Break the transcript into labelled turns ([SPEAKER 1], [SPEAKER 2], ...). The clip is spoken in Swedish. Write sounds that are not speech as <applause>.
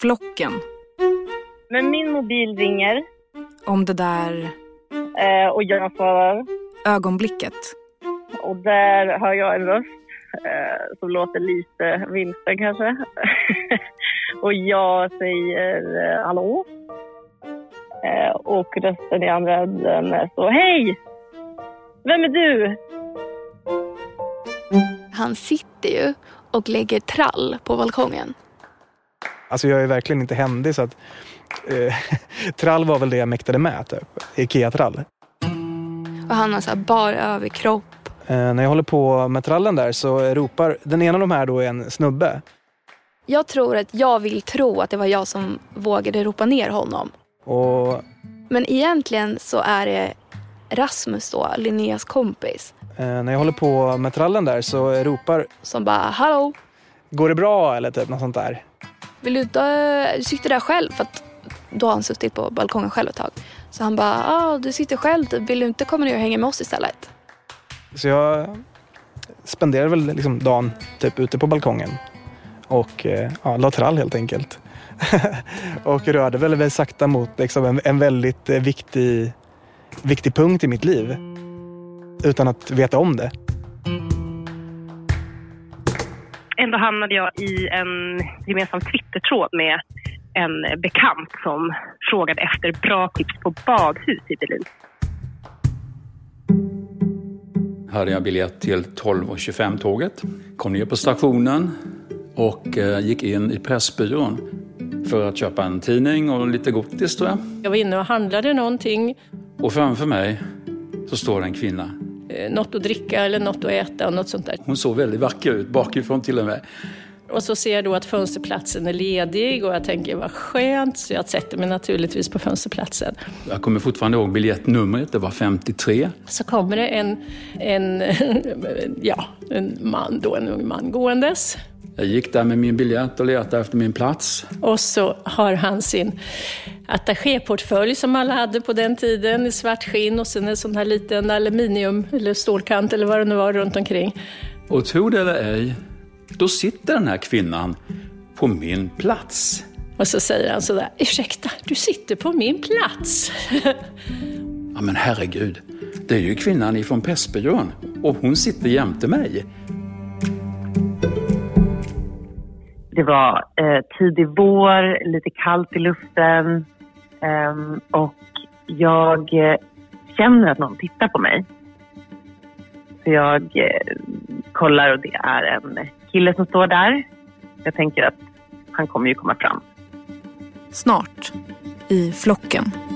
[SPEAKER 1] flocken.
[SPEAKER 2] Men min mobil ringer
[SPEAKER 1] Om det där
[SPEAKER 2] eh, och jag svarar.
[SPEAKER 1] ögonblicket.
[SPEAKER 2] Och där hör jag en röst eh, som låter lite vilsen kanske. <laughs> och jag säger eh, hallå. Eh, och rösten i andra änden är så hej! Vem är du?
[SPEAKER 3] Han sitter ju och lägger trall på balkongen.
[SPEAKER 4] Alltså jag är verkligen inte händig så att eh, <laughs> trall var väl det jag mäktade med typ. Ikea-trall.
[SPEAKER 3] Och han har så här bar överkropp.
[SPEAKER 4] Eh, när jag håller på med trallen där så ropar den ena av de här då är en snubbe.
[SPEAKER 3] Jag tror att jag vill tro att det var jag som vågade ropa ner honom.
[SPEAKER 4] Och
[SPEAKER 3] Men egentligen så är det Rasmus då, Linneas kompis,
[SPEAKER 4] eh, när jag håller på med trallen där så ropar
[SPEAKER 3] som bara “Hallå,
[SPEAKER 4] Går det bra? Eller typ något sånt där.
[SPEAKER 3] vill du dö? Du sitter där själv” för att då har han suttit på balkongen själv ett tag. Så han bara ah, “Du sitter själv, typ. vill du inte komma ner och hänga med oss istället?”
[SPEAKER 4] Så jag spenderade väl liksom dagen typ ute på balkongen. Och eh, ja, la trall helt enkelt. <laughs> och rörde väl, väl sakta mot liksom, en, en väldigt eh, viktig, viktig punkt i mitt liv. Utan att veta om det.
[SPEAKER 2] Ändå hamnade jag i en gemensam Twittertråd med en bekant som frågade efter bra tips på badhus i Berlin.
[SPEAKER 5] hade jag biljett till 12.25-tåget. Kom ner på stationen och eh, gick in i Pressbyrån för att köpa en tidning och lite godis tror jag.
[SPEAKER 6] Jag var inne och handlade någonting,
[SPEAKER 5] Och framför mig så står en kvinna.
[SPEAKER 6] eh, något att dricka eller något att äta och något sånt där.
[SPEAKER 5] Hon såg väldigt vacker ut bakifrån till och med.
[SPEAKER 6] Och så ser jag då att fönsterplatsen är ledig och jag tänker vad skönt, så jag sätter mig naturligtvis på fönsterplatsen.
[SPEAKER 5] Jag kommer fortfarande ihåg biljettnumret, det var 53.
[SPEAKER 6] Så kommer det en, en, ja, en <laughs> man då, en ung man gåendes.
[SPEAKER 5] Jag gick där med min biljett och letade efter min plats.
[SPEAKER 6] Och så har han sin attachéportfölj som alla hade på den tiden i svart skinn och sen en sån här liten aluminium eller stålkant eller vad det nu var runt omkring.
[SPEAKER 5] Och tro det eller ej, då sitter den här kvinnan på min plats.
[SPEAKER 6] Och så säger han sådär, ursäkta, du sitter på min plats.
[SPEAKER 5] Ja, men herregud, det är ju kvinnan ifrån Pressbyrån och hon sitter jämte mig.
[SPEAKER 2] Det var eh, tidig vår, lite kallt i luften ehm, och jag eh, känner att någon tittar på mig. Så jag eh, kollar och det är en kille som står där. Jag tänker att han kommer ju komma fram.
[SPEAKER 1] Snart. I flocken.